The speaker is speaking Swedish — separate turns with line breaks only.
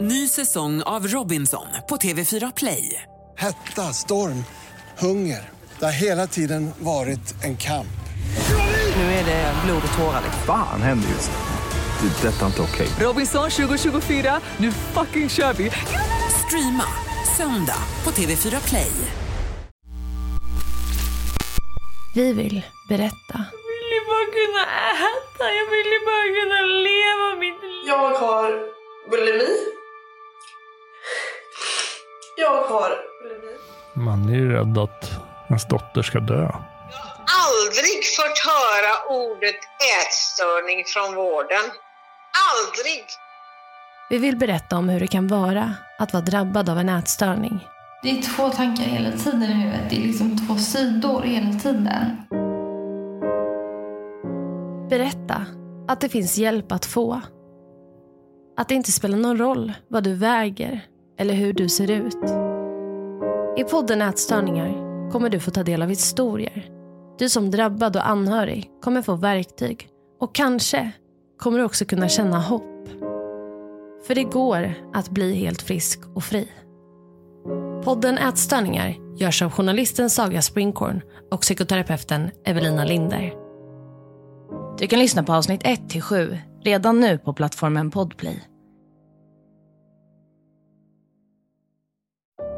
Ny säsong av Robinson på TV4 Play.
Hetta, storm, hunger. Det har hela tiden varit en kamp.
Nu är det blod och tårar. liksom.
Fan händer just nu. Det. är Detta är inte okej.
Robinson 2024, nu fucking kör vi! Streama söndag på TV4 Play.
Vi vill berätta.
vill ju bara kunna äta, jag vill ju bara kunna leva mitt liv.
Jag har bulimi. Jag har bulimi.
Man är ju rädd att ens dotter ska dö.
aldrig fått höra ordet ätstörning från vården. Aldrig!
Vi vill berätta om hur det kan vara att vara drabbad av en ätstörning.
Det är två tankar hela tiden i huvudet. Det är liksom två sidor hela tiden.
Berätta att det finns hjälp att få. Att det inte spelar någon roll vad du väger eller hur du ser ut. I podden Ätstörningar kommer du få ta del av historier. Du som drabbad och anhörig kommer få verktyg och kanske kommer du också kunna känna hopp. För det går att bli helt frisk och fri. Podden Ätstörningar görs av journalisten Saga Springhorn och psykoterapeuten Evelina Linder. Du kan lyssna på avsnitt 1-7 redan nu på plattformen Podplay.